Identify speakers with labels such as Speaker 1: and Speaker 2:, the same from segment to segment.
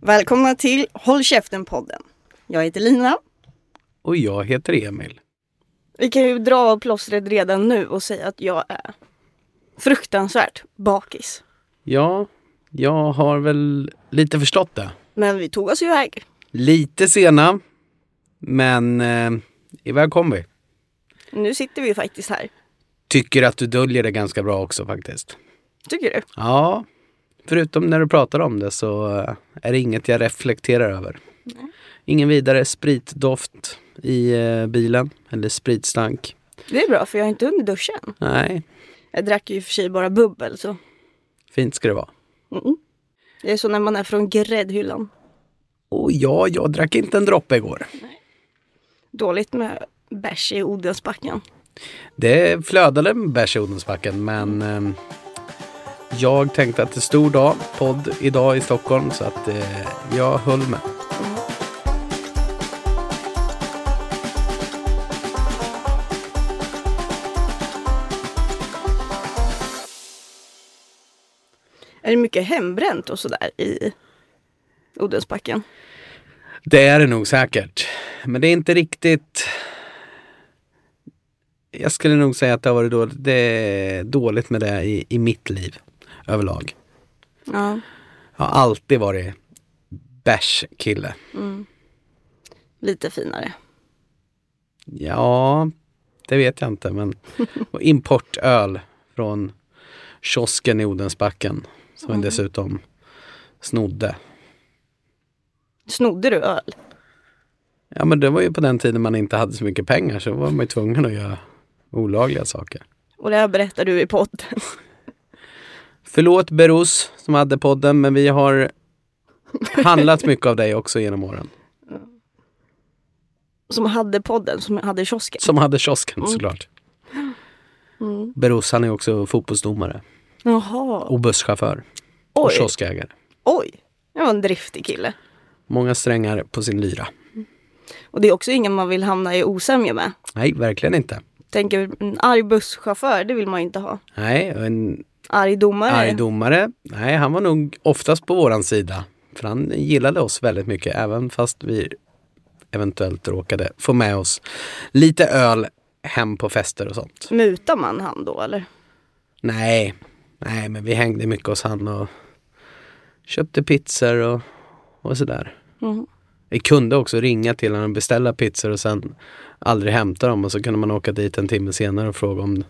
Speaker 1: Välkomna till Håll käften-podden. Jag heter Lina.
Speaker 2: Och jag heter Emil.
Speaker 1: Vi kan ju dra av plåstret redan nu och säga att jag är fruktansvärt bakis.
Speaker 2: Ja, jag har väl lite förstått det.
Speaker 1: Men vi tog oss ju iväg.
Speaker 2: Lite sena, men eh, iväg kom vi.
Speaker 1: Nu sitter vi ju faktiskt här.
Speaker 2: Tycker att du döljer det ganska bra också faktiskt.
Speaker 1: Tycker du?
Speaker 2: Ja, förutom när du pratar om det så eh, är det inget jag reflekterar över. Ingen vidare spritdoft i eh, bilen, eller spritstank.
Speaker 1: Det är bra för jag har inte hunnit duscha än.
Speaker 2: Nej,
Speaker 1: Jag drack ju i och för sig bara bubbel så.
Speaker 2: fint ska det vara.
Speaker 1: Mm. Det är så när man är från gräddhyllan.
Speaker 2: Och ja, jag drack inte en droppe igår.
Speaker 1: Dåligt med bärs i Odensbacken.
Speaker 2: Det flödade en bärs i Odensbacken, men eh, jag tänkte att det är stor dag, podd idag i Stockholm, så att eh, jag höll med.
Speaker 1: Är det mycket hembränt och sådär i Odensbacken?
Speaker 2: Det är det nog säkert, men det är inte riktigt... Jag skulle nog säga att det har varit dåligt, det är dåligt med det i, i mitt liv överlag.
Speaker 1: Ja.
Speaker 2: Jag har alltid varit bärskille.
Speaker 1: Lite finare.
Speaker 2: Ja, det vet jag inte, men och importöl från kiosken i Odensbacken som jag dessutom snodde.
Speaker 1: Snodde du öl?
Speaker 2: Ja, men det var ju på den tiden man inte hade så mycket pengar så var man ju tvungen att göra olagliga saker.
Speaker 1: Och det här berättar du i podden.
Speaker 2: Förlåt Berus som hade podden, men vi har handlat mycket av dig också genom åren.
Speaker 1: Som hade podden, som hade kiosken.
Speaker 2: Som hade kiosken såklart. Berus, han är också fotbollsdomare
Speaker 1: Jaha.
Speaker 2: och busschaufför och
Speaker 1: Oj.
Speaker 2: kioskägare.
Speaker 1: Oj. Det var en driftig kille.
Speaker 2: Många strängar på sin lyra.
Speaker 1: Och det är också ingen man vill hamna i osämja med.
Speaker 2: Nej, verkligen inte.
Speaker 1: Tänker en arg busschaufför, det vill man ju inte ha.
Speaker 2: Nej, och en
Speaker 1: Arg domare.
Speaker 2: arg domare. Nej, han var nog oftast på våran sida. För han gillade oss väldigt mycket, även fast vi eventuellt råkade få med oss lite öl hem på fester och sånt.
Speaker 1: Mutar man han då eller?
Speaker 2: Nej, nej, men vi hängde mycket hos han och köpte pizzor och, och sådär.
Speaker 1: Mhm.
Speaker 2: Vi kunde också ringa till honom och beställa pizzor och sen aldrig hämta dem och så kunde man åka dit en timme senare och fråga om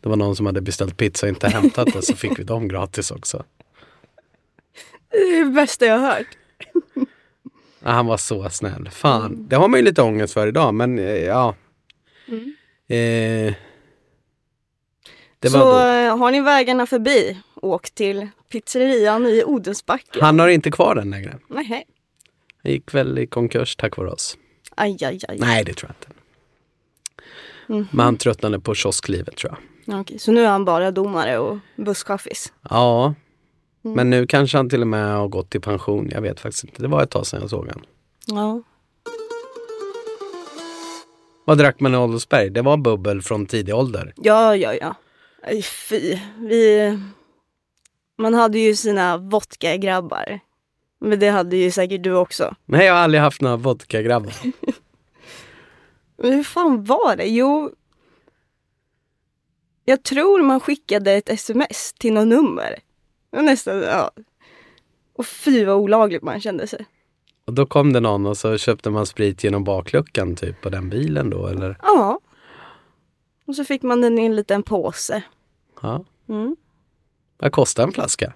Speaker 2: det var någon som hade beställt pizza och inte hämtat det så fick vi dem gratis också.
Speaker 1: Det är det bästa jag har hört.
Speaker 2: Ja, han var så snäll. Fan, det har man ju lite ångest för idag, men eh, ja. Eh, det
Speaker 1: Så
Speaker 2: var då.
Speaker 1: eh, har ni vägarna förbi, åk till pizzerian i Odensbacken.
Speaker 2: Han har inte kvar den längre.
Speaker 1: Nej,
Speaker 2: Han gick väl i konkurs tack vare oss.
Speaker 1: aj, aj, aj.
Speaker 2: Nej, det tror jag inte.
Speaker 1: Mhm.
Speaker 2: Men han tröttnade på kiosklivet tror jag.
Speaker 1: Ja, Okej, så nu är han bara domare och busschaffis.
Speaker 2: Ja, men nu kanske han till och med har gått i pension. Jag vet faktiskt inte. Det var ett tag sedan jag såg han.
Speaker 1: Ja.
Speaker 2: Vad drack man i Adolfsberg? Det var bubbel från tidig ålder.
Speaker 1: Ja, ja, ja. Aj, fy. Vi... Man hade ju sina vodka-grabbar. Men det hade ju säkert du också.
Speaker 2: Nej, jag har aldrig haft några vodkagrabbar.
Speaker 1: Men hur fan var det? Jo... Jag tror man skickade ett sms till något nummer. Det var Nästan, ja. Och fy vad olagligt man kände sig.
Speaker 2: Och då kom det någon och så köpte man sprit genom bakluckan typ på den bilen då eller?
Speaker 1: Ja. Och så fick man den i en liten påse.
Speaker 2: Ja.
Speaker 1: Mm.
Speaker 2: Vad kostar en flaska?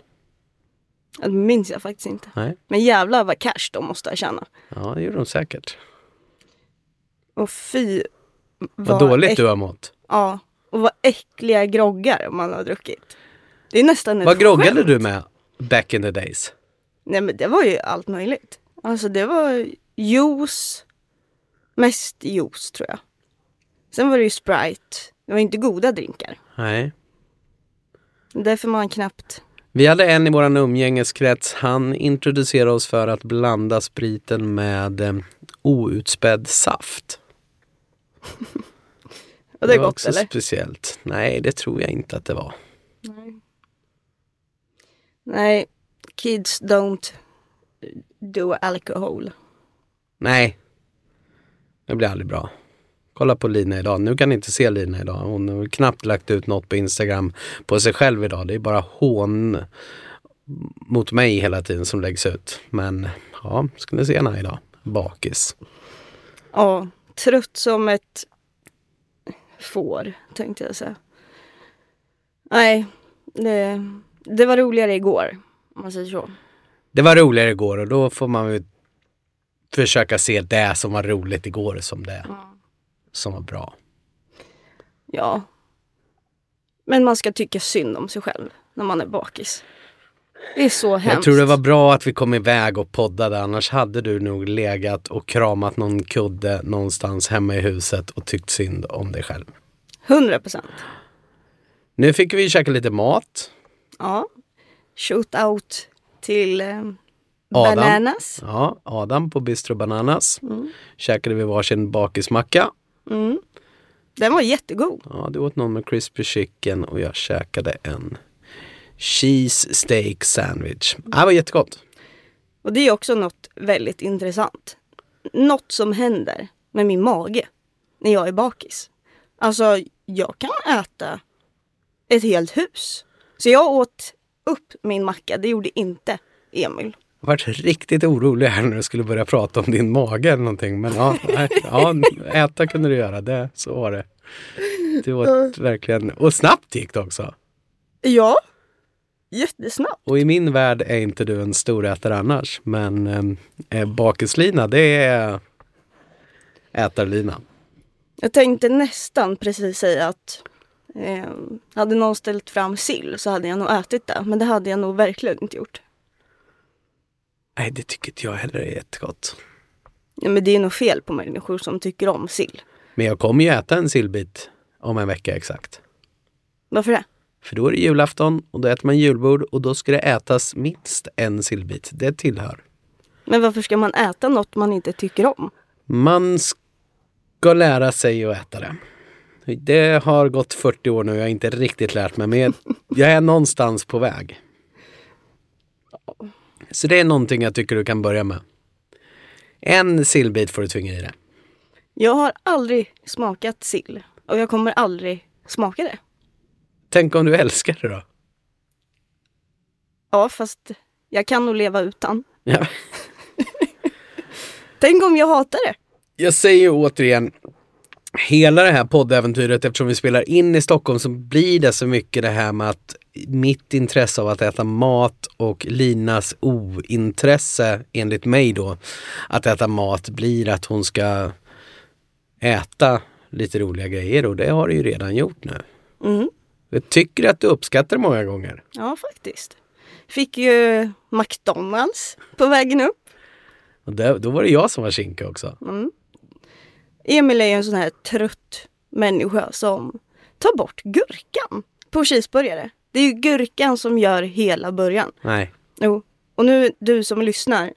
Speaker 1: Det minns jag faktiskt inte.
Speaker 2: Nej.
Speaker 1: Men jävlar vad cash de måste ha tjänat.
Speaker 2: Ja, det gjorde de säkert.
Speaker 1: Och fy
Speaker 2: Vad dåligt du har mått.
Speaker 1: Ja, och vad äckliga groggar man har druckit. Det är nästan ett
Speaker 2: Vad groggade
Speaker 1: skämt.
Speaker 2: du med back in the days?
Speaker 1: Nej men det var ju allt möjligt. Alltså det var juice, mest juice tror jag. Sen var det ju Sprite. Det var inte goda drinkar.
Speaker 2: Nej.
Speaker 1: Därför man knappt...
Speaker 2: Vi hade en i våran umgängeskrets. Han introducerade oss för att blanda spriten med eh, outspädd saft.
Speaker 1: Och det är
Speaker 2: var
Speaker 1: gott
Speaker 2: också
Speaker 1: eller?
Speaker 2: speciellt. Nej, det tror jag inte att det var.
Speaker 1: Nej, kids don't do alcohol.
Speaker 2: Nej. Det blir aldrig bra. Kolla på Lina idag. Nu kan ni inte se Lina idag. Hon har knappt lagt ut något på Instagram på sig själv idag. Det är bara hån mot mig hela tiden som läggs ut. Men ja, ska ni se henne idag. Bakis.
Speaker 1: Ja, trött som ett får, tänkte jag säga. Nej, det, det var roligare igår, om man säger så.
Speaker 2: Det var roligare igår och då får man ju försöka se det som var roligt igår som det som var bra.
Speaker 1: Ja. Men man ska tycka synd om sig själv när man är bakis. Det är så hemskt.
Speaker 2: Jag tror det var bra att vi kom iväg och poddade annars hade du nog legat och kramat någon kudde någonstans hemma i huset och tyckt synd om dig själv.
Speaker 1: 100 procent.
Speaker 2: Nu fick vi käka lite mat.
Speaker 1: Ja. Shoot out till eh,
Speaker 2: Adam.
Speaker 1: Bananas.
Speaker 2: Ja, Adam på Bistro Bananas. Käkade vi varsin bakismacka.
Speaker 1: Den var jättegod.
Speaker 2: Ja, du åt någon med crispy chicken och jag käkade en cheese steak sandwich. Det var jättegott.
Speaker 1: Och det är också något väldigt intressant. Något som händer med min mage när jag är bakis. Alltså, jag kan äta ett helt hus. Så jag åt upp min macka. Det gjorde inte Emil.
Speaker 2: Jag vart riktigt orolig här när du skulle börja prata om din mage eller någonting. Men ja, nej, ja äta kunde du göra. Det, så var det. Du åt verkligen, och snabbt gick det också.
Speaker 1: Ja, jättesnabbt.
Speaker 2: Och i min värld är inte du en storätare annars. Men eh, bakislina, det är ätarlina.
Speaker 1: Jag tänkte nästan precis säga att eh, hade någon ställt fram sill så hade jag nog ätit det. Men det hade jag nog verkligen inte gjort.
Speaker 2: Nej, det tycker inte jag heller är jättegott.
Speaker 1: Ja, men det är nog fel på människor som tycker om sill.
Speaker 2: Men jag kommer ju äta en sillbit om en vecka exakt.
Speaker 1: Varför det?
Speaker 2: För då är det julafton och då äter man julbord och då ska det ätas minst en sillbit. Det tillhör.
Speaker 1: Men varför ska man äta något man inte tycker om?
Speaker 2: Man ska lära sig att äta det. Det har gått 40 år nu, jag har inte riktigt lärt mig, men jag- jag är någonstans på väg. Så det är någonting jag tycker du kan börja med. En sillbit får du tvinga i dig.
Speaker 1: Jag har aldrig smakat sill och jag kommer aldrig smaka det.
Speaker 2: Tänk om du älskar det då?
Speaker 1: Ja, fast jag kan nog leva utan.
Speaker 2: Ja.
Speaker 1: Tänk om jag hatar det?
Speaker 2: jag säger ju återigen, hela det här poddäventyret, eftersom vi spelar in i Stockholm, så blir det så mycket det här med att mitt intresse av att äta mat och Linas ointresse, enligt mig då, att äta mat blir att hon ska äta lite roliga grejer och det har du ju redan gjort nu.
Speaker 1: Mm.
Speaker 2: Jag tycker att du uppskattar det många gånger.
Speaker 1: Ja, faktiskt. Fick ju McDonalds på vägen upp.
Speaker 2: Och det, då var det jag som var kinka också.
Speaker 1: Emil är ju en sån här trött människa som tar bort gurkan på cheeseburgare. Det är ju gurkan som gör hela början.
Speaker 2: Nej,
Speaker 1: Jo. Och nu du som lyssnar.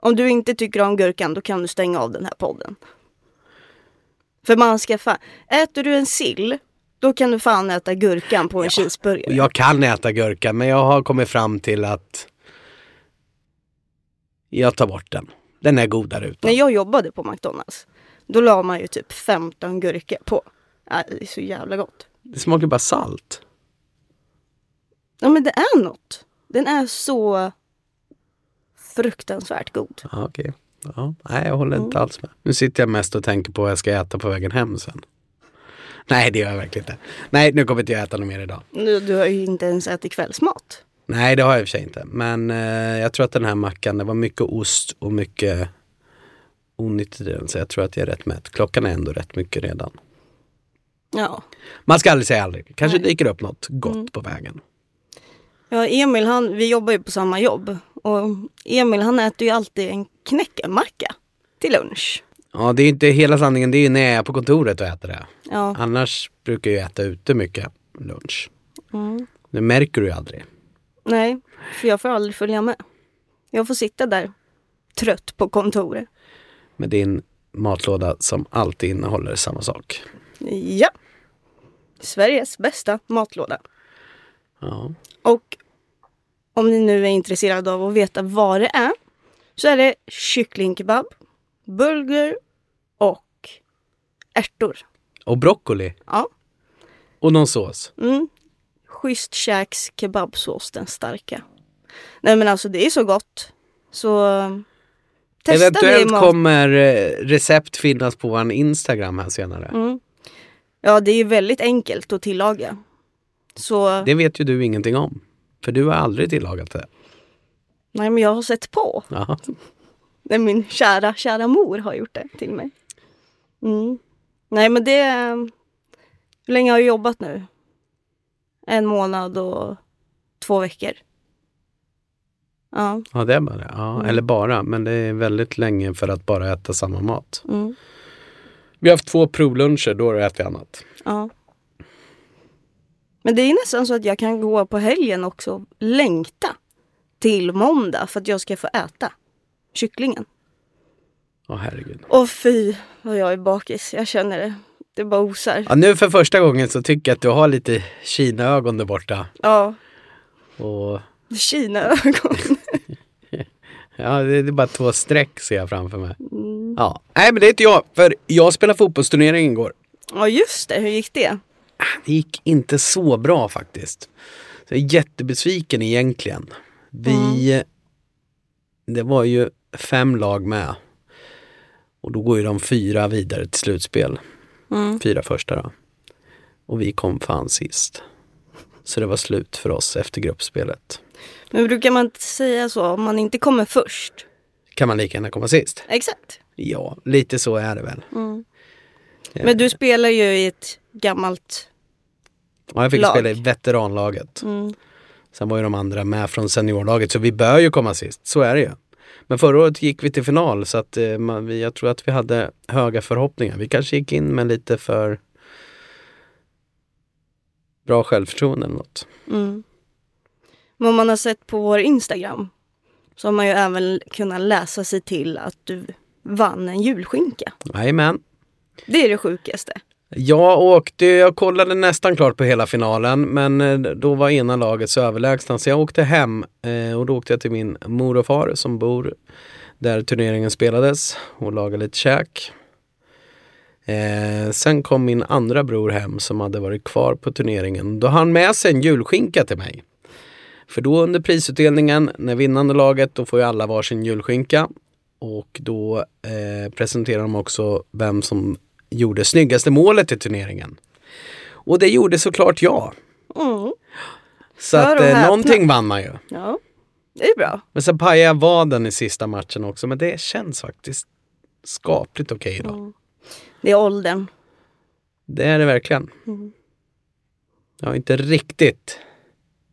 Speaker 1: Om du inte tycker om gurkan då kan du stänga av den här podden. För man ska fan, äter du en sill då kan du fan äta gurkan på en cheeseburgare.
Speaker 2: Och Jag kan äta gurka men jag har kommit fram till att jag tar bort den. Den är god där ute.
Speaker 1: När jag jobbade på McDonalds då la man ju typ 15 gurkor på. Äh, det är så jävla gott.
Speaker 2: Det smakar bara salt.
Speaker 1: Ja men det är något. Den är så fruktansvärt god.
Speaker 2: Ja, okej. Ja, nej, jag håller inte alls med. Nu sitter jag mest och tänker på vad jag ska äta på vägen hem sen. Nej, det gör jag verkligen inte. Nej, nu kommer inte jag äta något mer idag.
Speaker 1: Du, du har ju inte ens ätit kvällsmat.
Speaker 2: Nej, det har jag i och för sig inte. Men eh, jag tror att den här mackan, det var mycket ost och mycket onyttigt i den. Så jag tror att jag är rätt mätt. Klockan är ändå rätt mycket redan.
Speaker 1: Ja.
Speaker 2: Man ska aldrig säga aldrig. Kanske dyker upp något gott på vägen.
Speaker 1: Ja, Emil han, vi jobbar ju på samma jobb. Och Emil han äter ju alltid en knäckemacka till lunch.
Speaker 2: Ja, det är ju inte hela sanningen. Det är ju när jag är på kontoret och äter det.
Speaker 1: Ja,
Speaker 2: Annars brukar jag ju äta ute mycket lunch.
Speaker 1: Mm.
Speaker 2: Det märker du ju aldrig.
Speaker 1: nej. För jag får aldrig följa med. Jag får sitta där trött på kontoret.
Speaker 2: Med din matlåda som alltid innehåller samma sak.
Speaker 1: Ja. Sveriges bästa matlåda.
Speaker 2: Ja.
Speaker 1: Och om ni nu är intresserade av att veta vad det är, så är det kycklingkebab, bulgur och ärtor.
Speaker 2: Och broccoli.
Speaker 1: Ja.
Speaker 2: Och någon sås.
Speaker 1: Mm. Schysst käks kebabsås, den starka. Nej men alltså det är så gott. Så eh, testa det i
Speaker 2: Eventuellt
Speaker 1: mat.
Speaker 2: kommer eh, recept finnas på vår Instagram här senare.
Speaker 1: Mm. Ja, det är väldigt enkelt att tillaga. Så
Speaker 2: Det vet ju du ingenting om. För du har aldrig tillagat det.
Speaker 1: nej, men jag har sett på.
Speaker 2: Ja.
Speaker 1: Nej, min kära, kära mor har gjort det till mig. Mm. Nej, men det... um, Hur länge har jag jobbat nu? En månad och två veckor. Ja.
Speaker 2: Ja, det är bara det. Ja,
Speaker 1: Mm.
Speaker 2: Eller bara, men det är väldigt länge för att bara äta samma mat.
Speaker 1: Mm.
Speaker 2: Vi har haft två provluncher, då har du ätit annat.
Speaker 1: Ja. Men det är nästan så att jag kan gå på helgen också och längta till måndag för att jag ska få äta kycklingen.
Speaker 2: Ja, herregud.
Speaker 1: Åh fy vad jag är bakis, jag känner det. Det bara osar.
Speaker 2: Ja, nu för första gången så tycker jag att du har lite Kina-ögon där borta.
Speaker 1: Ja,
Speaker 2: Och,
Speaker 1: Kina-ögon.
Speaker 2: ja, det det är bara två streck ser jag framför mig. Ja. Nej, men det är inte jag, för jag spelade fotbollsturnering igår.
Speaker 1: Ja just det, hur gick det?
Speaker 2: Det gick inte så bra faktiskt. Så jag är jättebesviken egentligen. Vi, Det var ju fem lag med. Och då går ju de fyra vidare till slutspel.
Speaker 1: Mm.
Speaker 2: Fyra första då. Och vi kom fan sist. Så det var slut för oss efter gruppspelet.
Speaker 1: Men brukar man inte säga så om man inte kommer först?
Speaker 2: Kan man lika gärna komma sist?
Speaker 1: Exakt.
Speaker 2: Ja, lite så är det väl. Eh,
Speaker 1: Mm. Men du spelar ju i ett gammalt...
Speaker 2: Ja, jag fick
Speaker 1: lag.
Speaker 2: spela i veteranlaget.
Speaker 1: Mm.
Speaker 2: Sen var ju de andra med från seniorlaget, så vi bör ju komma sist. Så är det ju. Men förra året gick vi till final, så att, eh, man, vi, jag tror att vi hade höga förhoppningar. Vi kanske gick in med lite för bra självförtroende eller något.
Speaker 1: Mm. Men om man har sett på vår Instagram så har man ju även kunnat läsa sig till att du vann en julskinka.
Speaker 2: Jajamän.
Speaker 1: Det är det sjukaste.
Speaker 2: Jag åkte, jag kollade nästan klart på hela finalen men eh, då var ena laget så överlägsna så jag åkte hem eh, och då åkte jag till min mor och far som bor där turneringen spelades och lagade lite käk. Eh, sen kom min andra bror hem som hade varit kvar på turneringen. Då hann han med sig en julskinka till mig. För då under prisutdelningen, när vinnande laget, då får ju alla varsin julskinka. Och då eh, presenterar de också vem som gjorde snyggaste målet i turneringen. Och det gjorde såklart jag.
Speaker 1: Mm.
Speaker 2: Så
Speaker 1: Hör
Speaker 2: att
Speaker 1: och
Speaker 2: eh,
Speaker 1: häpna.
Speaker 2: någonting vann man ju.
Speaker 1: Ja, det är bra.
Speaker 2: Men sen pajade jag vaden i sista matchen också, men det känns faktiskt skapligt okej idag.
Speaker 1: Mm. Det är åldern.
Speaker 2: Det är det verkligen.
Speaker 1: Mm.
Speaker 2: Jag är inte riktigt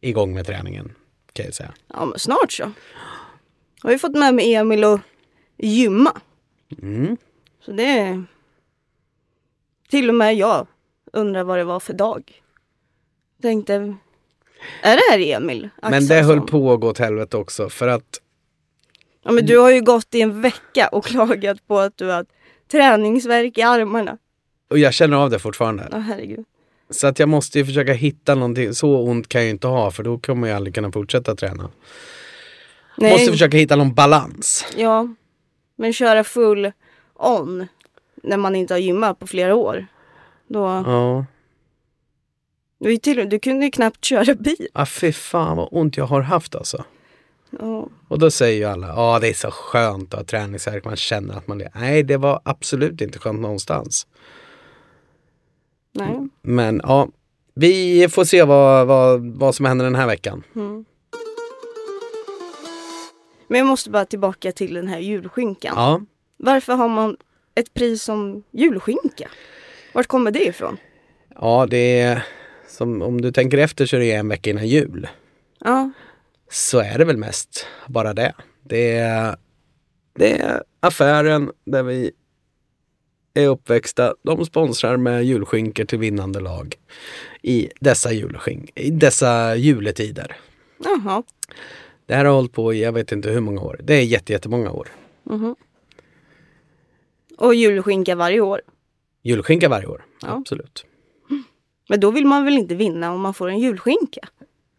Speaker 2: igång med träningen kan jag säga.
Speaker 1: Ja, men snart så. Har ju fått med mig Emil och gymma.
Speaker 2: Mm.
Speaker 1: Så det är... Till och med jag undrar vad det var för dag. Tänkte, är det här Emil
Speaker 2: Men
Speaker 1: alltså.
Speaker 2: det höll på att gå åt helvete också för att
Speaker 1: Ja, men du har ju gått i en vecka och klagat på att du har träningsverk i armarna.
Speaker 2: och jag känner av det fortfarande.
Speaker 1: Ja, herregud.
Speaker 2: Så att jag måste ju försöka hitta någonting. Så ont kan jag ju inte ha för då kommer jag aldrig kunna fortsätta träna.
Speaker 1: Nej,
Speaker 2: Måste försöka hitta någon balans.
Speaker 1: Ja, men köra full on när man inte har gymmat på flera år. Då,
Speaker 2: Ja.
Speaker 1: du, är ju till, du kunde ju knappt köra bil.
Speaker 2: Ah, fy fan vad ont jag har haft alltså.
Speaker 1: Ja.
Speaker 2: Och då säger ju alla, ja det är så skönt att ha träningsvärk, man känner att man det. Nej, det var absolut inte skönt någonstans. Mm.
Speaker 1: Nej.
Speaker 2: Men ja, vi får se vad, vad, vad som händer den här veckan.
Speaker 1: Men jag måste bara tillbaka till den här julskinkan.
Speaker 2: Ja,
Speaker 1: Varför har man ett pris som julskinka? Vart kommer det ifrån?
Speaker 2: ja det är som om du tänker efter så är det en vecka innan jul.
Speaker 1: Ja,
Speaker 2: så är det väl mest bara det. Det är, det är affären där vi är uppväxta. De sponsrar med julskinkor till vinnande lag i dessa, julskink- i dessa juletider.
Speaker 1: jaha.
Speaker 2: Det här har hållit på i jag vet inte hur många år. Det är jätte, jättemånga år.
Speaker 1: Mhm. Och julskinka varje år.
Speaker 2: Julskinka varje år,
Speaker 1: Ja.
Speaker 2: absolut.
Speaker 1: Men då vill man väl inte vinna om man får en julskinka?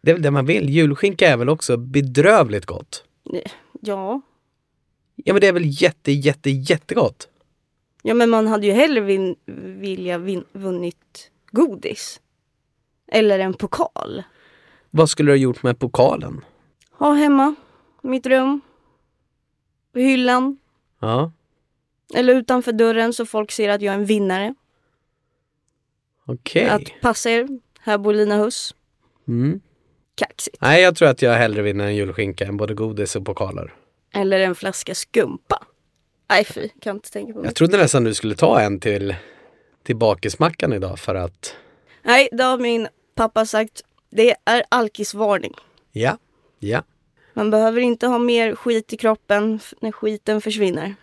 Speaker 2: Det är väl det man vill. Julskinka är väl också bedrövligt gott?
Speaker 1: Ja.
Speaker 2: Ja men det är väl jätte, jätte, jättegott?
Speaker 1: Ja men man hade ju hellre vin- vilja vin- vunnit godis. Eller en pokal.
Speaker 2: Vad skulle du ha gjort med pokalen?
Speaker 1: Ha hemma, mitt rum. På hyllan.
Speaker 2: Ja,
Speaker 1: Eller utanför dörren så folk ser att jag är en vinnare.
Speaker 2: okej.
Speaker 1: Att passa er, här bor Lina Hus.
Speaker 2: Mm.
Speaker 1: Kaxigt.
Speaker 2: Nej, jag tror att jag hellre vinner en julskinka än både godis och pokaler.
Speaker 1: Eller en flaska skumpa. Nej fy, kan inte tänka på det.
Speaker 2: Jag trodde nästan du skulle ta en till, till bakismackan idag för att...
Speaker 1: Nej, det har min pappa sagt. Det är alkisvarning.
Speaker 2: Ja, ja.
Speaker 1: Man behöver inte ha mer skit i kroppen f- när skiten försvinner.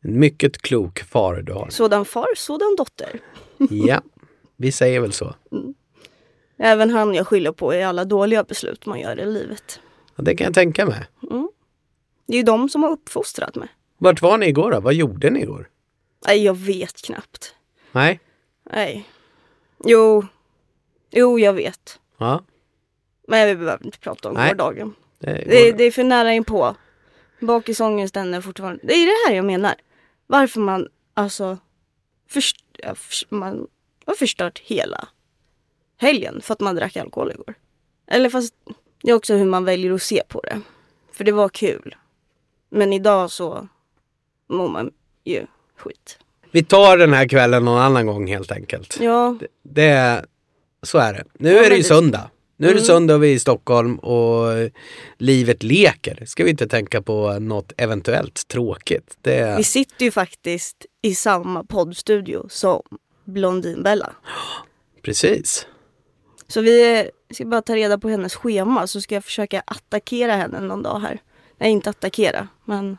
Speaker 2: En mycket klok far du har.
Speaker 1: Sådan far, sådan dotter.
Speaker 2: Ja, vi säger väl så.
Speaker 1: Även han jag skyller på i alla dåliga beslut man gör i livet.
Speaker 2: Ja, det kan jag tänka mig.
Speaker 1: Det är ju de som har uppfostrat mig.
Speaker 2: Vart var ni igår då? Vad gjorde ni igår?
Speaker 1: Nej, jag vet knappt.
Speaker 2: Nej?
Speaker 1: Nej. Jo. Jo, jag vet.
Speaker 2: Ja.
Speaker 1: Men vi behöver inte prata om
Speaker 2: Nej.
Speaker 1: gårdagen.
Speaker 2: Det går.
Speaker 1: Det, det är för nära inpå. Bakisångest den är fortfarande... Det är det här jag menar. Varför man alltså... Först, ja, förs- man har förstört hela helgen för att man drack alkohol igår. Eller fast det är också hur man väljer att se på det. För det var kul. Men idag så mår man ju skit.
Speaker 2: Vi tar den här kvällen någon annan gång helt enkelt.
Speaker 1: Ja,
Speaker 2: Det är, så är det. Nu
Speaker 1: Ja,
Speaker 2: är det
Speaker 1: men
Speaker 2: ju
Speaker 1: det- Mm.
Speaker 2: söndag. Nu är det söndag och vi är i Stockholm och livet leker. Ska vi inte tänka på något eventuellt tråkigt. Det är...
Speaker 1: vi sitter ju faktiskt i samma poddstudio som Blondinbella.
Speaker 2: Precis.
Speaker 1: Så vi eh, ska bara ta reda på hennes schema så ska jag försöka attackera henne någon dag här. Nej, inte attackera, men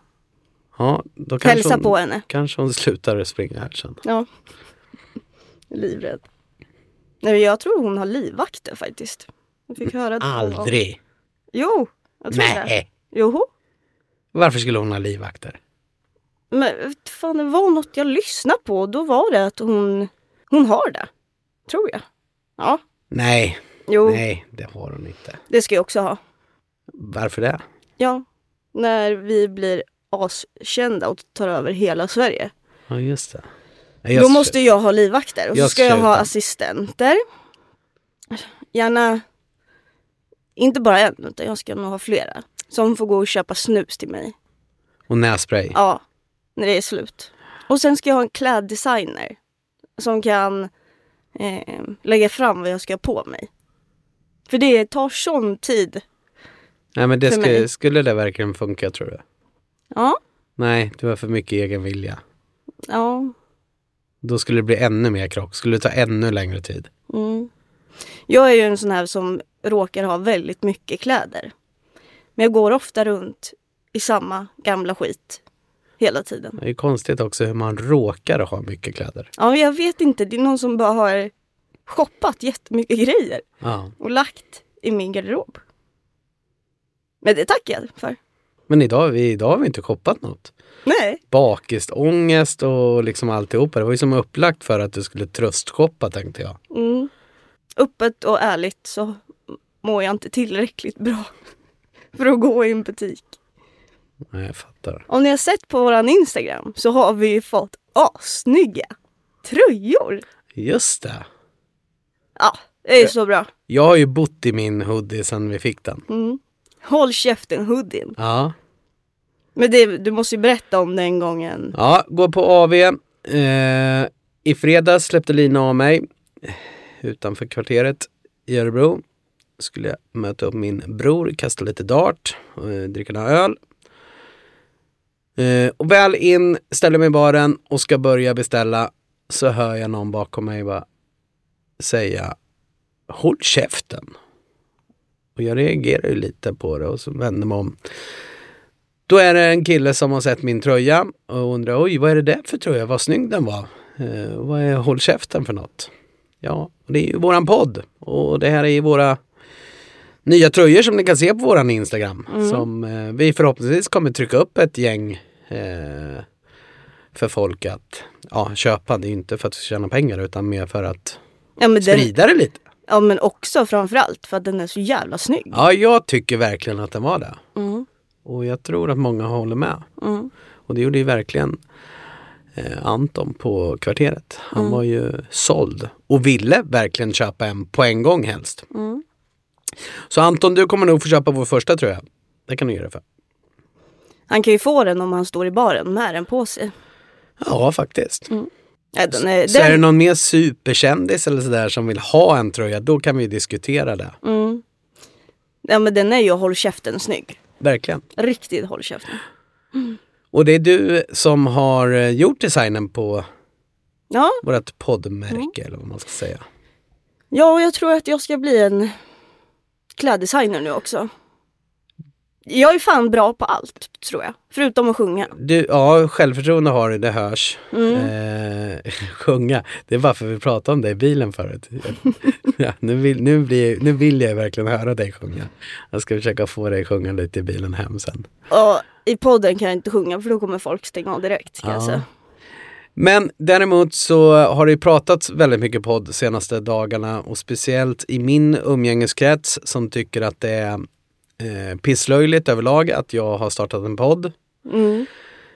Speaker 2: Ja, då kanske
Speaker 1: hälsa
Speaker 2: hon,
Speaker 1: på henne.
Speaker 2: Kanske hon slutar att springa här sen.
Speaker 1: Ja. Livrädd. Nej, men jag tror hon har livvakter faktiskt. Jag fick höra att hon har-
Speaker 2: Aldrig.
Speaker 1: Jo, jag tror det.
Speaker 2: Nej.
Speaker 1: Joho.
Speaker 2: Varför skulle hon ha livvakter?
Speaker 1: Men vet fan, det var något jag lyssnade på och då var det att hon, hon har det. Tror jag. Ja,
Speaker 2: Nej,
Speaker 1: jo,
Speaker 2: nej, det har hon inte.
Speaker 1: det ska jag också ha.
Speaker 2: Varför det?
Speaker 1: Ja, när vi blir askända och tar över hela Sverige.
Speaker 2: Ja, just det. Ja,
Speaker 1: Då
Speaker 2: just
Speaker 1: måste jag ha livvakter och så
Speaker 2: Jag
Speaker 1: ska jag ha
Speaker 2: köper.
Speaker 1: assistenter. Gärna, inte bara en utan jag ska nog ha flera. Som får gå och köpa snus till mig.
Speaker 2: Och nässpray.
Speaker 1: Ja, när det är slut. Och sen ska jag ha en kläddesigner. Som kan eh, lägga fram vad jag ska ha på mig. För det tar sån tid.
Speaker 2: Nej, men det
Speaker 1: för
Speaker 2: skulle,
Speaker 1: mig.
Speaker 2: skulle det verkligen funka tror du?
Speaker 1: Ja,
Speaker 2: Nej, du har för mycket egen vilja.
Speaker 1: ja.
Speaker 2: Då skulle det bli ännu mer krock. Skulle det ta ännu längre tid.
Speaker 1: Mm. Jag är ju en sån här som råkar ha väldigt mycket kläder. Men jag går ofta runt i samma gamla skit hela tiden.
Speaker 2: Det är ju konstigt också hur man råkar ha mycket kläder.
Speaker 1: Ja, men jag vet inte. Det är någon som bara har shoppat jättemycket grejer
Speaker 2: Ja.
Speaker 1: och lagt i min garderob. Men det tackar jag för.
Speaker 2: Men idag, vi, idag har vi inte shoppat något.
Speaker 1: Nej.
Speaker 2: Bakist, ångest och liksom alltihopa. Det var ju som upplagt för att du skulle tröstshoppa tänkte jag.
Speaker 1: Mm. Öppet och ärligt så mår jag inte tillräckligt bra för att gå i en butik.
Speaker 2: Nej, jag fattar.
Speaker 1: Om ni har sett på våran Instagram så har vi ju fått assnygga tröjor.
Speaker 2: Just det.
Speaker 1: Ja, det är så bra.
Speaker 2: Jag har ju bott i min hoodie sedan vi fick den.
Speaker 1: Mm. Håll käften hoodien.
Speaker 2: Ja.
Speaker 1: Men det, du måste ju berätta om den gången.
Speaker 2: Ja, gå på AV. Eh, I fredags släppte Lina av mig eh, utanför kvarteret i Örebro. Skulle jag möta upp min bror, kasta lite dart, eh, dricka några öl. Eh, och väl in, ställer mig i baren och ska börja beställa så hör jag någon bakom mig bara säga Håll käften. Och jag reagerar ju lite på det och så vänder mig om. Då är det en kille som har sett min tröja och undrar oj vad är det där för tröja, vad snygg den var. Eh, vad är Håll käften för något? Ja, och det är ju våran podd och det här är ju våra nya tröjor som ni kan se på våran Instagram som eh, vi förhoppningsvis kommer trycka upp ett gäng eh, för folk att ja, köpa. Det är ju inte för att tjäna pengar utan mer för att
Speaker 1: Ja men den,
Speaker 2: sprida det lite.
Speaker 1: Ja men också framförallt för att den är så jävla snygg.
Speaker 2: Ja, jag tycker verkligen att den var det.
Speaker 1: Mm,
Speaker 2: Och jag tror att många håller med.
Speaker 1: mm,
Speaker 2: Och det gjorde ju verkligen eh, Anton på kvarteret. Han
Speaker 1: Mm.
Speaker 2: var ju såld och ville verkligen köpa en på en gång helst.
Speaker 1: mm.
Speaker 2: Så Anton, du kommer nog få köpa vår första tröja. Det kan du göra för.
Speaker 1: Han kan ju få den om han står i baren med den på sig.
Speaker 2: Ja, faktiskt.
Speaker 1: Nej, den är,
Speaker 2: Mm. Så är det
Speaker 1: den,
Speaker 2: någon mer superkändis eller sådär som vill ha en tröja, då kan vi ju diskutera det.
Speaker 1: mm. Ja men den är ju håll käften snygg.
Speaker 2: Verkligen.
Speaker 1: Riktigt håll käften.
Speaker 2: Och det är du som har eh, gjort designen på
Speaker 1: Ja,
Speaker 2: vårt poddmärke
Speaker 1: Mm.
Speaker 2: eller vad man ska säga.
Speaker 1: ja och jag tror att jag ska bli en kläddesigner nu också. Jag är fan bra på allt tror jag. Förutom att sjunga.
Speaker 2: Du, ja, självförtroende har du, det hörs.
Speaker 1: Mm.
Speaker 2: Eh, sjunga, det är bara för att vi pratade om det i bilen förut. ja, nu, vill, nu, blir, nu vill jag verkligen höra dig sjunga. Jag ska försöka få dig sjunga lite i bilen hem sen.
Speaker 1: Och i podden kan jag inte sjunga för då kommer folk stänga av direkt. Kan jag
Speaker 2: Ja.
Speaker 1: säga.
Speaker 2: Men däremot så har det ju pratats väldigt mycket podd senaste dagarna och speciellt i min umgängeskrets som tycker att det är eh, pisslöjligt överlag att jag har startat en podd.
Speaker 1: Mm.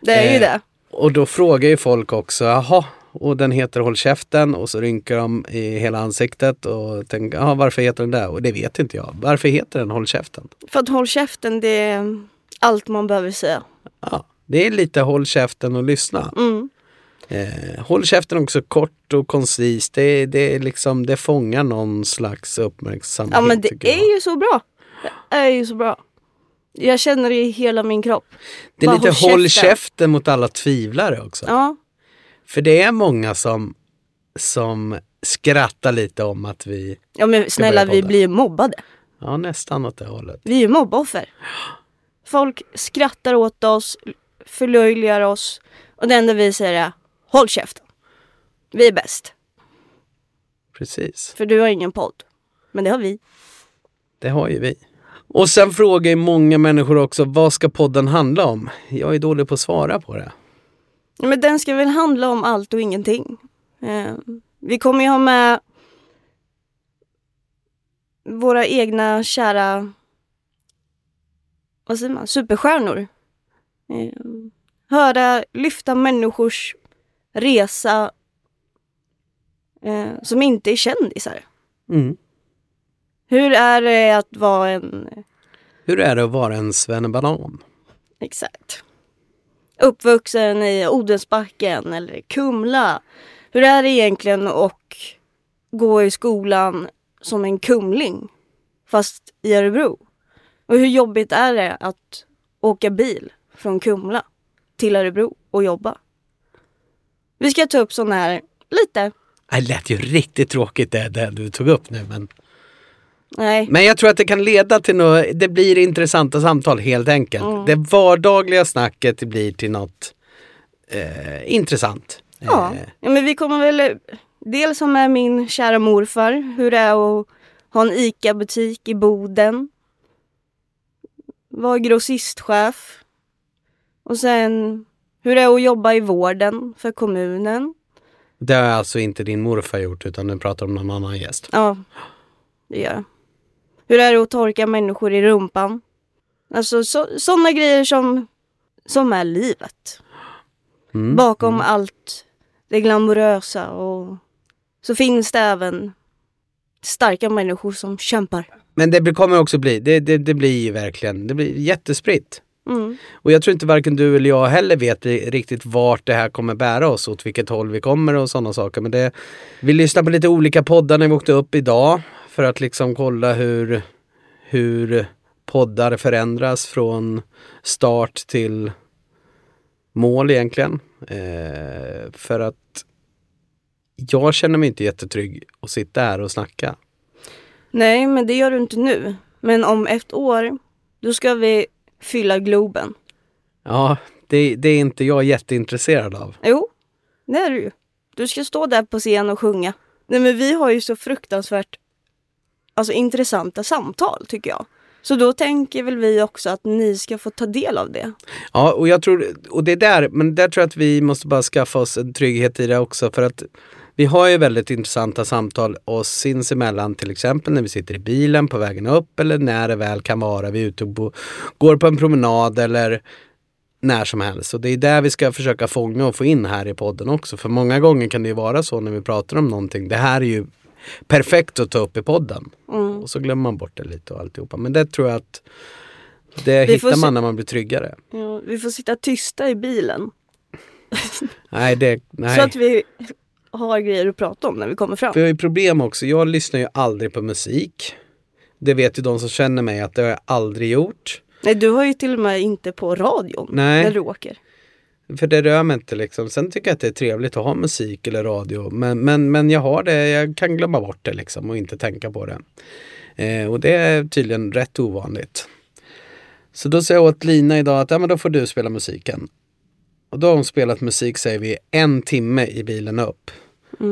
Speaker 1: Det är ju
Speaker 2: Eh,
Speaker 1: det.
Speaker 2: Och då frågar ju folk också, jaha, och den heter Håll käften och så rynkar de i hela ansiktet och tänker, jaha varför heter den det? Och det vet inte jag. Varför heter den Håll käften?
Speaker 1: För att håll käften det är allt man behöver säga.
Speaker 2: Ja, det är lite Håll käften och lyssna.
Speaker 1: Mm.
Speaker 2: Eh, håll käften också kort och koncist. Det, det, är liksom, det fångar någon slags uppmärksamhet.
Speaker 1: Ja men
Speaker 2: tycker
Speaker 1: det
Speaker 2: jag.
Speaker 1: är ju så bra. Det är ju så bra. Jag känner det i hela min kropp.
Speaker 2: det är
Speaker 1: bara
Speaker 2: lite
Speaker 1: håll
Speaker 2: Håll käften.
Speaker 1: käften.
Speaker 2: mot alla tvivlare också.
Speaker 1: Ja.
Speaker 2: För det är många som, som skrattar lite om att vi,
Speaker 1: Ja men snälla
Speaker 2: börja
Speaker 1: vi
Speaker 2: podda.
Speaker 1: blir ju mobbade.
Speaker 2: ja nästan åt det hållet.
Speaker 1: Vi är ju mobboffer. Folk skrattar åt oss, förlöjligar oss och det enda vi säger är håll käften. Vi är bäst.
Speaker 2: Precis.
Speaker 1: För du har ingen podd. Men det har vi.
Speaker 2: Det har ju vi. Och sen frågar ju många människor också, vad ska podden handla om? Jag är dålig på att svara på det.
Speaker 1: Ja, Men den ska väl handla om allt och ingenting. Eh, vi kommer ju ha med våra egna kära, vad säger man, superstjärnor. Eh, höra, lyfta människors resa eh, som inte är kändisar.
Speaker 2: Mm.
Speaker 1: Hur är det att vara en,
Speaker 2: Hur är det att vara en svennebanan?
Speaker 1: exakt, uppvuxen i Odensbacken eller Kumla? Hur är det egentligen att gå i skolan som en kumling fast i Örebro? Och hur jobbigt är det att åka bil från Kumla till Örebro och jobba? Vi ska ta upp sådana här lite,
Speaker 2: Det lät ju riktigt tråkigt det, det du tog upp nu. Men,
Speaker 1: nej,
Speaker 2: men jag tror att det kan leda till något, det blir intressanta samtal helt enkelt. Det vardagliga snacket blir till något eh, intressant.
Speaker 1: Ja,
Speaker 2: Eh,
Speaker 1: ja men vi kommer väl dels ha med min kära morfar, hur det är att ha en ICA-butik i Boden. Vara grossistchef. Och sen hur det är att jobba i vården för kommunen.
Speaker 2: det har alltså inte din morfar gjort utan du pratar om någon annan gäst.
Speaker 1: Ja, det gör jag. Hur är det att torka människor i rumpan? Alltså sådana grejer som, som är livet.
Speaker 2: Mm.
Speaker 1: Bakom allt det glamorösa och så finns det även starka människor som kämpar.
Speaker 2: Men det blir- kommer också bli, det, det, det blir ju verkligen, det blir jättespritt.
Speaker 1: Mm.
Speaker 2: Och jag tror inte varken du eller jag heller vet ri- riktigt vart det här kommer bära oss, åt vilket håll vi kommer och sådana saker. Men det, vi lyssnade på lite olika poddar när vi åkte upp idag för att liksom kolla hur, hur poddar förändras från start till mål egentligen. Eh, för att jag känner mig inte jättetrygg att sitta här och snacka.
Speaker 1: Nej, men det gör du inte nu. Men om ett år, då ska vi fylla Globen.
Speaker 2: Ja, det, det är inte jag jätteintresserad av.
Speaker 1: Jo, det är du ju. Du ska stå där på scen och sjunga. Nej men vi har ju så fruktansvärt alltså, intressanta samtal tycker jag. Så då tänker väl vi också att ni ska få ta del av det.
Speaker 2: Ja, och jag tror, och det är där, men där tror jag att vi måste bara skaffa oss en trygghet i det också för att Vi har ju väldigt intressanta samtal oss sinsemellan, till exempel när vi sitter i bilen på vägen upp eller när det väl kan vara. Vi är ute och bo- går på en promenad eller när som helst. Och det är där vi ska försöka fånga och få in här i podden också. För många gånger kan det ju vara så när vi pratar om någonting. Det här är ju perfekt att ta upp i podden.
Speaker 1: Mm.
Speaker 2: Och så glömmer man bort det lite och alltihopa. Men det tror jag att det
Speaker 1: Vi får
Speaker 2: hittar man
Speaker 1: se-
Speaker 2: när man blir tryggare.
Speaker 1: Ja, vi får sitta tysta i bilen.
Speaker 2: Nej, det,
Speaker 1: Så
Speaker 2: nej.
Speaker 1: att vi har grejer att prata om när vi kommer fram.
Speaker 2: Vi har ju problem också. Jag lyssnar ju aldrig på musik. Det vet ju de som känner mig att det har jag aldrig gjort.
Speaker 1: Nej, du har ju till och med inte på radion
Speaker 2: Nej.
Speaker 1: när du åker.
Speaker 2: För det rör mig inte liksom. Sen tycker jag att det är trevligt att ha musik eller radio. Men, men, men jag har det, jag kan glömma bort det liksom och inte tänka på det. Eh, och det är tydligen rätt ovanligt. Så då säger jag åt Lina idag att ja, men då får du spela musiken. Och då har hon spelat musik, säger vi, en timme i bilen upp.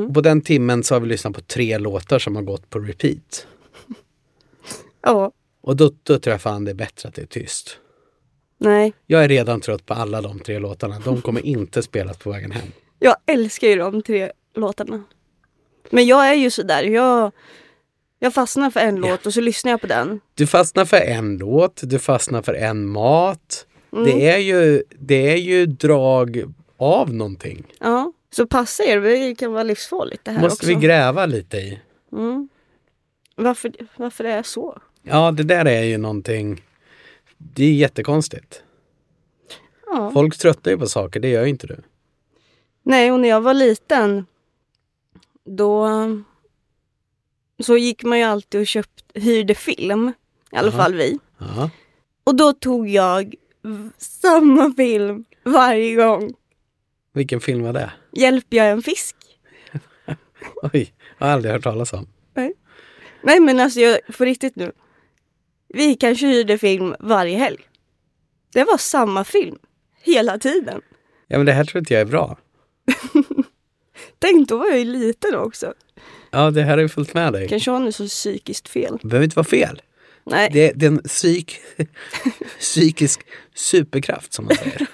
Speaker 2: Och på den timmen så har vi lyssnat på tre låtar som har gått på repeat.
Speaker 1: Ja,
Speaker 2: Och då, då tror jag fan det är bättre att det är tyst.
Speaker 1: nej.
Speaker 2: Jag är redan trött på alla de tre låtarna. De kommer inte spelas på vägen hem.
Speaker 1: Jag älskar ju de tre låtarna. Men jag är ju sådär, jag, jag fastnar för en låt och så lyssnar jag på den.
Speaker 2: Du fastnar för en låt, du fastnar för en mat.
Speaker 1: Mm.
Speaker 2: Det, är ju, det är ju drag av någonting.
Speaker 1: Ja. Så passa er, det kan vara livsfarligt det här
Speaker 2: måste
Speaker 1: också.
Speaker 2: vi gräva lite i.
Speaker 1: mm. varför, varför är jag så?
Speaker 2: Ja, det där är ju någonting. Det är jättekonstigt.
Speaker 1: Ja.
Speaker 2: Folk tröttnar ju på saker, det gör ju inte du.
Speaker 1: Nej, och när jag var liten då så gick man ju alltid och köpt, hyrde film. I alla
Speaker 2: Aha.
Speaker 1: fall vi.
Speaker 2: Ja.
Speaker 1: Och då tog jag v- samma film varje gång.
Speaker 2: Vilken film var det?
Speaker 1: Hjälper jag en fisk?
Speaker 2: Oj, jag har aldrig hört talas om.
Speaker 1: Nej men alltså jag, på riktigt nu. Vi kanske hyrde film varje helg. Det var samma film. Hela tiden.
Speaker 2: Ja, men det här tror inte jag är bra.
Speaker 1: Tänk då var jag ju liten också.
Speaker 2: Ja, det här har ju följt med dig.
Speaker 1: Kanske har nu så psykiskt fel.
Speaker 2: Det behöver inte vara fel.
Speaker 1: Nej.
Speaker 2: Det, det är en psyk, psykisk superkraft som man säger.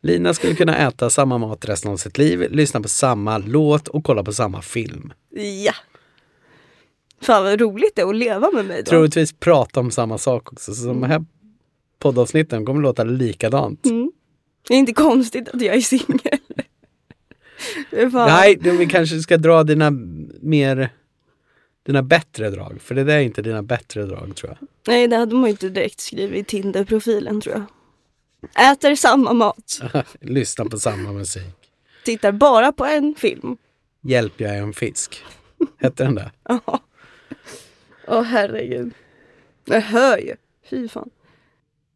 Speaker 2: Lina skulle kunna äta samma mat resten av sitt liv, lyssna på samma låt och kolla på samma film.
Speaker 1: Ja. Fan vad roligt det är att leva med mig då.
Speaker 2: Troligtvis prata om samma sak också. Så de här poddavsnitten kommer låta likadant.
Speaker 1: Det är inte konstigt att jag är singel. Det är fan-
Speaker 2: Nej, du, vi kanske ska dra dina mer dina bättre drag, för det där är inte dina bättre drag tror jag.
Speaker 1: Nej, det hade man ju inte direkt skrivit i Tinder-profilen tror jag. Äter samma mat.
Speaker 2: Lyssna på samma musik.
Speaker 1: Tittar bara på en film.
Speaker 2: Hjälp, jag är en fisk. Hette den där?
Speaker 1: Ja. Åh herregud. Jag hör ju. Fy fan.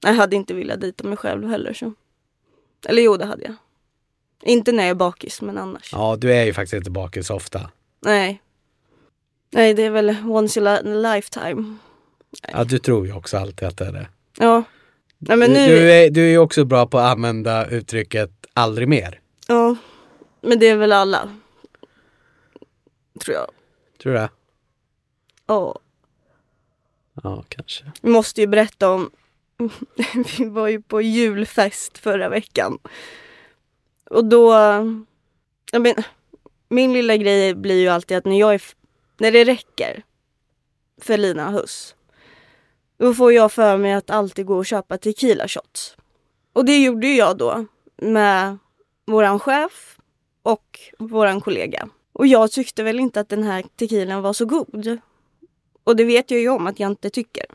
Speaker 1: Jag hade inte velat dejta mig själv heller så. Eller jo, det hade jag. Inte när jag är bakis, men annars.
Speaker 2: Ja, du är ju faktiskt inte bakis ofta.
Speaker 1: Nej. Nej, det är väl once in a lifetime.
Speaker 2: Ja, du tror ju också alltid att det är det.
Speaker 1: Ja. Nej, men
Speaker 2: du,
Speaker 1: nu...
Speaker 2: du, är, du är ju också bra på att använda uttrycket aldrig mer.
Speaker 1: Ja, men det är väl alla. Tror jag.
Speaker 2: Tror du det?
Speaker 1: Ja,
Speaker 2: Ja, kanske.
Speaker 1: vi måste ju berätta om... Vi var ju på julfest förra veckan. Och då... Jag men, min lilla grej blir ju alltid att när jag är... f- När det räcker för Lina Hus då får jag för mig att alltid gå och köpa tequila shots. Och det gjorde ju jag då med våran chef och våran kollega. Och jag tyckte väl inte att den här tequilan var så god. Och det vet jag ju om att jag inte tycker.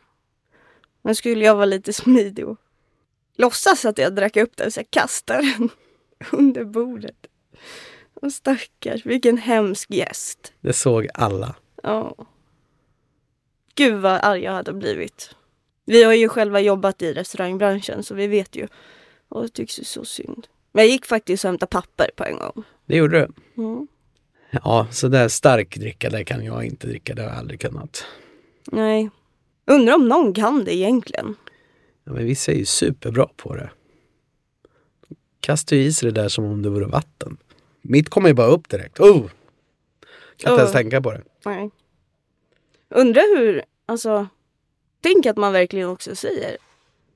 Speaker 1: Men skulle jag vara lite smidig och låtsas att jag drack upp den så jag kastar den under bordet. Och stackars, vilken hemsk gäst.
Speaker 2: Det såg alla.
Speaker 1: Ja. Gud vad arg jag hade blivit. Vi har ju själva jobbat i restaurangbranschen så vi vet ju. Och det tycks ju så synd. Men jag gick faktiskt och hämtade papper på en gång.
Speaker 2: Det gjorde du.
Speaker 1: Mm.
Speaker 2: Ja, så där stark dricka, det kan jag inte dricka. Det har jag aldrig kunnat.
Speaker 1: Nej. Undrar om någon kan det egentligen.
Speaker 2: Ja, men vissa är ju superbra på det. Kastar ju i sig det där som om det vore vatten. Mitt kommer ju bara upp direkt. Oh! Kan inte
Speaker 1: Oh.
Speaker 2: ens tänka på det.
Speaker 1: Nej. Undrar hur, alltså. Tänk att man verkligen också säger.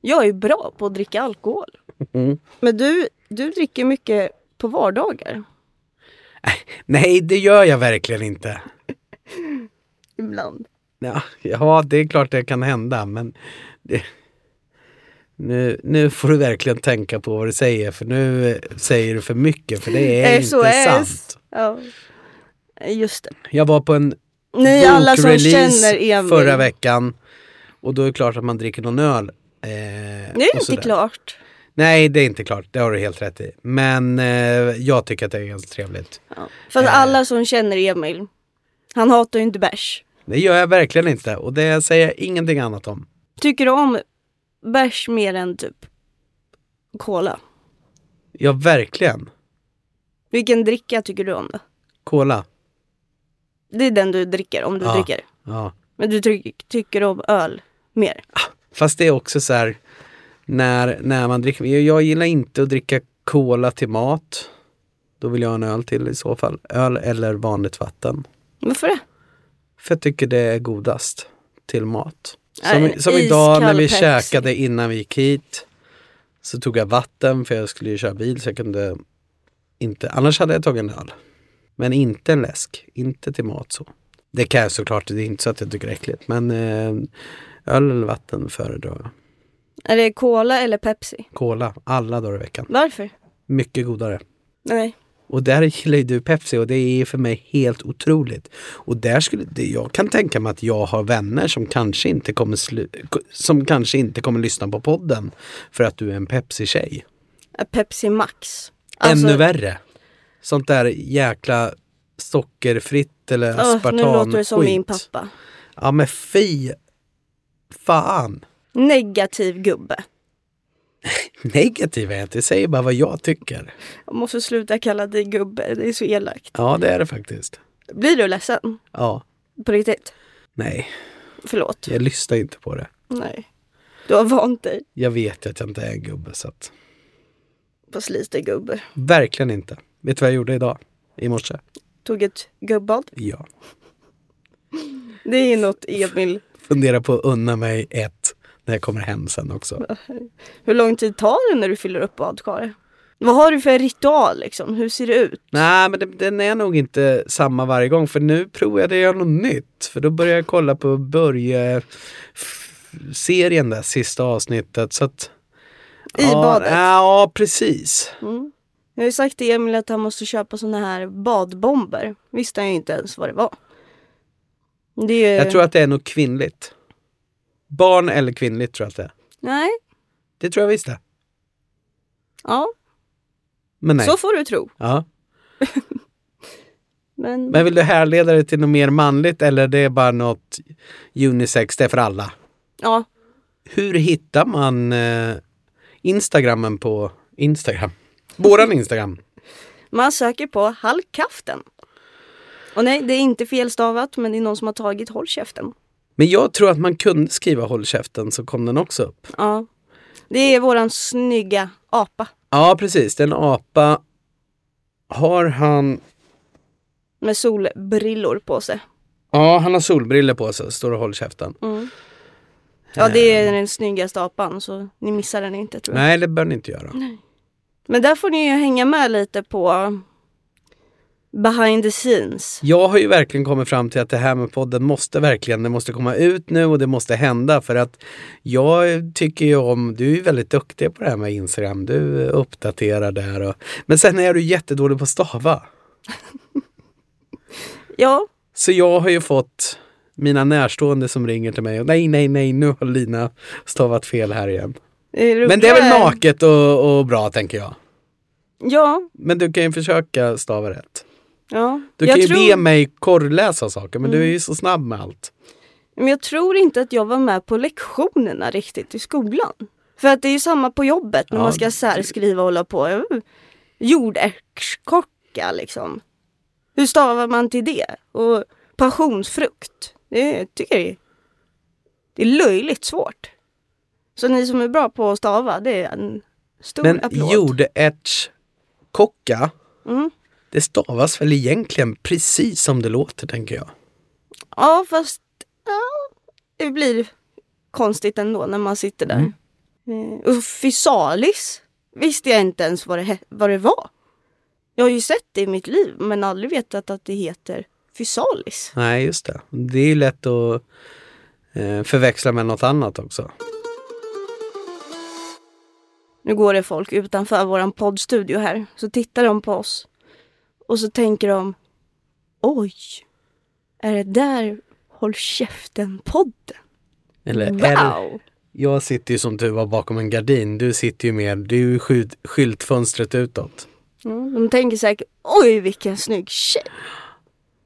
Speaker 1: Jag är bra på att dricka alkohol.
Speaker 2: Mm.
Speaker 1: Men du, du dricker mycket på vardagar.
Speaker 2: Nej, det gör jag verkligen inte.
Speaker 1: Ibland.
Speaker 2: Ja, ja det är klart det kan hända, men det... nu, nu får du verkligen tänka på vad du säger, för nu eh, säger du för mycket, för det är inte sant.
Speaker 1: Ja. Just det.
Speaker 2: Jag var på en
Speaker 1: Ni alla som
Speaker 2: bokrelease
Speaker 1: känner Emil.
Speaker 2: förra veckan och då är det klart att man dricker någon öl. Eh,
Speaker 1: Det är
Speaker 2: och
Speaker 1: inte
Speaker 2: sådär.
Speaker 1: klart.
Speaker 2: Nej, det är inte klart. Det har du helt rätt i. Men eh, jag tycker att det är ganska trevligt.
Speaker 1: Ja. Fast
Speaker 2: Eh.
Speaker 1: alla som känner Emil, han hatar ju inte bärs.
Speaker 2: Det gör jag verkligen inte och det säger jag ingenting annat om.
Speaker 1: Tycker du om bärs mer än typ cola?
Speaker 2: Ja, verkligen.
Speaker 1: Vilken dricka tycker du om då?
Speaker 2: Cola.
Speaker 1: Det är den du dricker om du
Speaker 2: Ja.
Speaker 1: dricker.
Speaker 2: Ja.
Speaker 1: Men du ty- tycker om öl mer.
Speaker 2: Fast det är också så här när, när man dricker. Jag, jag gillar inte att dricka cola till mat. Då vill jag ha en öl till i så fall. Öl eller vanligt vatten.
Speaker 1: Varför det?
Speaker 2: För jag tycker det är godast till mat.
Speaker 1: Nej,
Speaker 2: Som,
Speaker 1: en
Speaker 2: som idag när vi
Speaker 1: iskall Pepsi.
Speaker 2: käkade innan vi gick hit. Så tog jag vatten för jag skulle ju köra bil så jag kunde inte. Annars hade jag tagit en öl. Men inte en läsk. Inte till mat så. Det kan jag såklart. Det är inte så att jag tycker det är äckligt. Men eh, öl eller vatten föredrar jag.
Speaker 1: Är det cola eller Pepsi?
Speaker 2: Cola alla dagar i veckan.
Speaker 1: Varför?
Speaker 2: Mycket godare.
Speaker 1: Nej.
Speaker 2: Och där gillar ju du Pepsi och det är för mig helt otroligt. Och där skulle, det, jag kan tänka mig att jag har vänner som kanske inte kommer, slu, som kanske inte kommer lyssna på podden för att du är en Pepsi-tjej.
Speaker 1: Är Pepsi Max. Alltså-
Speaker 2: Ännu värre! Sånt där jäkla sockerfritt eller
Speaker 1: åh,
Speaker 2: aspartam
Speaker 1: Nu låter du som
Speaker 2: skit.
Speaker 1: min pappa.
Speaker 2: Ja men fy fan!
Speaker 1: Negativ gubbe.
Speaker 2: Negativ är jag inte, jag säger bara vad jag tycker.
Speaker 1: Jag måste sluta kalla dig gubbe, det är så elakt.
Speaker 2: Ja det är det faktiskt.
Speaker 1: Blir du ledsen?
Speaker 2: Ja,
Speaker 1: På riktigt?
Speaker 2: nej,
Speaker 1: Förlåt.
Speaker 2: jag lyssnar inte på det.
Speaker 1: Nej. Du har vant dig
Speaker 2: Jag vet ju att jag inte är en gubbe så att
Speaker 1: på lite gubbe.
Speaker 2: Verkligen inte. Vet du vad jag gjorde idag? I morse?
Speaker 1: Tog ett gubbad.
Speaker 2: Ja.
Speaker 1: Det är något Emil.
Speaker 2: Fundera på att unna mig ett när jag kommer hem sen också.
Speaker 1: Hur lång tid tar det när du fyller upp badkaret? Vad har du för ritual liksom? Hur ser det ut?
Speaker 2: Nej, men det, den är nog inte samma varje gång för nu provade jag något nytt. För då började jag kolla på Börje-serien där, sista avsnittet. Så att,
Speaker 1: I
Speaker 2: ja,
Speaker 1: badet?
Speaker 2: Ja, precis.
Speaker 1: Mm. Jag har ju sagt till Emil att han måste köpa såna här badbomber. Visste han ju inte ens vad det var. Det är ju...
Speaker 2: Jag tror att det är nog kvinnligt. Barn eller kvinnligt tror jag att det är.
Speaker 1: Nej,
Speaker 2: Det tror jag visst det.
Speaker 1: ja,
Speaker 2: Men nej.
Speaker 1: så får du tro.
Speaker 2: Ja.
Speaker 1: Men,
Speaker 2: Men vill du härleda det till något mer manligt eller det är bara något unisex, det är för alla?
Speaker 1: ja,
Speaker 2: Hur hittar man eh, Instagrammen på Instagram? Våran Instagram.
Speaker 1: man söker på halkaften. Och nej, det är inte felstavat, men det är någon som har tagit håll käften.
Speaker 2: Men jag tror att man kunde skriva håll käften så kom den också upp.
Speaker 1: Ja. Det är våran snygga apa
Speaker 2: Ja, precis. Det är en apa. Har han...
Speaker 1: med solbrillor på sig.
Speaker 2: Ja, han har solbriller på sig, står det håll käften.
Speaker 1: Mm. Ja, det
Speaker 2: Ehm.
Speaker 1: är den snyggaste apan, så ni missar den inte tror jag.
Speaker 2: Nej, det bör ni inte göra.
Speaker 1: Men där får ni ju hänga med lite på behind the scenes.
Speaker 2: Jag har ju verkligen kommit fram till att det här med podden måste verkligen, det måste komma ut nu och det måste hända för att jag tycker ju om, du är ju väldigt duktig på det här med Instagram, du uppdaterar där och, men sen är du jättedålig på att stava.
Speaker 1: Ja,
Speaker 2: Så jag har ju fått mina närstående som ringer till mig och nej, nej, nej, nu har Lina stavat fel här igen.
Speaker 1: roliga
Speaker 2: Men det är väl
Speaker 1: är-
Speaker 2: naket och, och bra tänker jag.
Speaker 1: Ja,
Speaker 2: Men du kan ju försöka stava rätt.
Speaker 1: ja.
Speaker 2: Du
Speaker 1: jag,
Speaker 2: kan ju
Speaker 1: tror, Mm.
Speaker 2: be mig korrläsa saker men du är ju så snabb med allt.
Speaker 1: men jag tror inte att jag var med på lektionerna riktigt i skolan. För att det är ju samma på jobbet när
Speaker 2: Ja,
Speaker 1: man ska så här skriva och hålla på. Uh, Jordärtskocka liksom. Hur stavar man till det? Och passionsfrukt. Det tycker jag är, det är löjligt svårt. Så ni som är bra på att stava, det är en stor
Speaker 2: Men
Speaker 1: applåd.
Speaker 2: jordärtskocka
Speaker 1: Mm.
Speaker 2: Det stavas väl egentligen precis som det låter, tänker jag.
Speaker 1: Ja, fast ja, det blir konstigt ändå när man sitter där. Eh, Mm. Och fysalis visste jag inte ens vad det, he- vad det var. Jag har ju sett det i mitt liv men aldrig vetat att det heter fysalis.
Speaker 2: Nej, just det. Det är ju lätt att eh, förväxla med något annat också.
Speaker 1: Nu går det folk utanför våran poddstudio här, så tittar de på oss. Och så tänker de, oj, är det där Håll Käften-podden?
Speaker 2: Eller, eller,
Speaker 1: Wow!
Speaker 2: jag sitter ju som du var bakom en gardin. Du sitter ju mer, du är ju skylt, skyltfönstret utåt.
Speaker 1: Mm, de tänker säkert, oj vilken snygg tjej.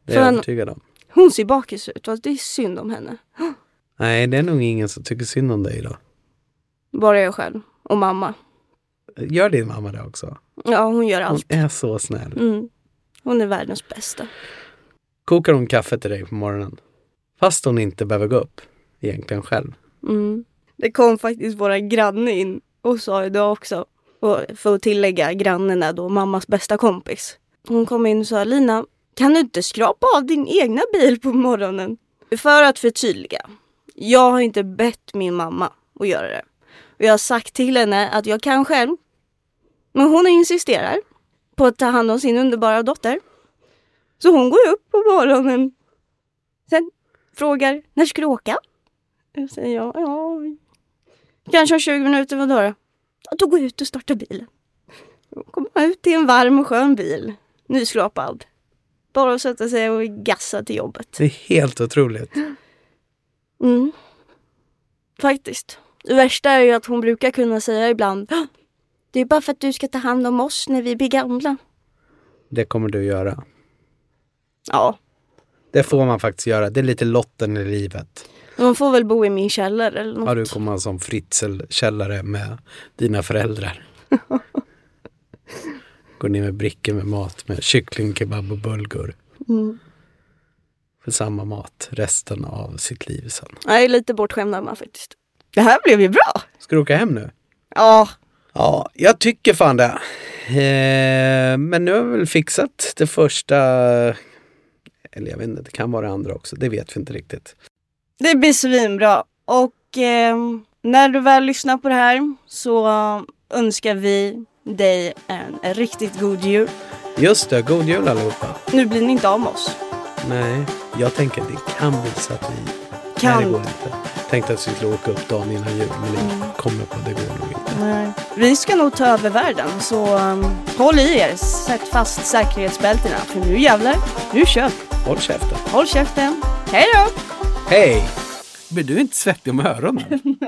Speaker 2: Det är jag
Speaker 1: Fan.
Speaker 2: övertygad om.
Speaker 1: Hon ser bakis ut, fast det är synd om henne.
Speaker 2: Nej, det är nog ingen som tycker synd om dig idag.
Speaker 1: Bara jag själv och mamma.
Speaker 2: Gör din mamma det också?
Speaker 1: Ja, hon gör
Speaker 2: Hon
Speaker 1: allt.
Speaker 2: är så snäll.
Speaker 1: Mm. Hon är världens bästa.
Speaker 2: Kokar hon kaffe till dig på morgonen? Fast hon inte behöver gå upp egentligen själv.
Speaker 1: Mm. Det kom faktiskt våra granne in och sa idag också. Och för att tillägga, grannen är då mammas bästa kompis. Hon kom in och sa Lina, kan du inte skrapa av din egna bil på morgonen? För att förtydliga. Jag har inte bett min mamma att göra det. Och jag har sagt till henne att jag kan själv. Men hon insisterar på att ta hand om sin underbara dotter. Så hon går upp på morgonen. Sen frågar, när ska du åka? Jag säger ja, ja. Kanske om 20 minuter, vadå då? Ja, då går jag ut och startar bilen. Då kommer man ut i en varm och skön bil. Nyskrapad. Bara att sätta sig och gassa till jobbet.
Speaker 2: Det är helt otroligt.
Speaker 1: Mm. Faktiskt. Det värsta är ju att hon brukar kunna säga ibland "Hå! Det är bara för att du ska ta hand om oss när vi blir gamla.
Speaker 2: Det kommer du göra.
Speaker 1: Ja,
Speaker 2: Det får man faktiskt göra. Det är lite lotten i livet.
Speaker 1: de får väl bo i min källare eller något.
Speaker 2: Ja, du kommer ha en sån fritzelkällare med dina föräldrar. Går ner med brickor med mat med kyckling, kebab och bulgur.
Speaker 1: Mm.
Speaker 2: För samma mat resten av sitt liv sen.
Speaker 1: Jag är lite bortskämd mamma faktiskt. Det här blev ju bra!
Speaker 2: Ska du åka hem nu?
Speaker 1: Ja,
Speaker 2: Ja, jag tycker fan det. Eh, men nu har vi väl fixat det första. Eller jag vet inte, det kan vara det andra också. Det vet vi inte riktigt.
Speaker 1: Det blir svinbra. Och ehm, när du väl lyssnar på det här så önskar vi dig en riktigt god jul.
Speaker 2: Just det, god jul allihopa.
Speaker 1: Nu blir ni inte av med oss.
Speaker 2: Nej, jag tänker att det kan bli så att vi... Nej, det går
Speaker 1: Kan.
Speaker 2: inte. Tänkte att vi skulle åka upp dagen innan jul, men det kommer på det går nog inte.
Speaker 1: Nej. Vi ska nog ta över världen så ehm, håll i er. Sätt fast säkerhetsbältena för nu jävlar, nu kör vi.
Speaker 2: Håll käften.
Speaker 1: Håll käften. Hej då!
Speaker 2: Hej! Blir du inte svettig om öronen?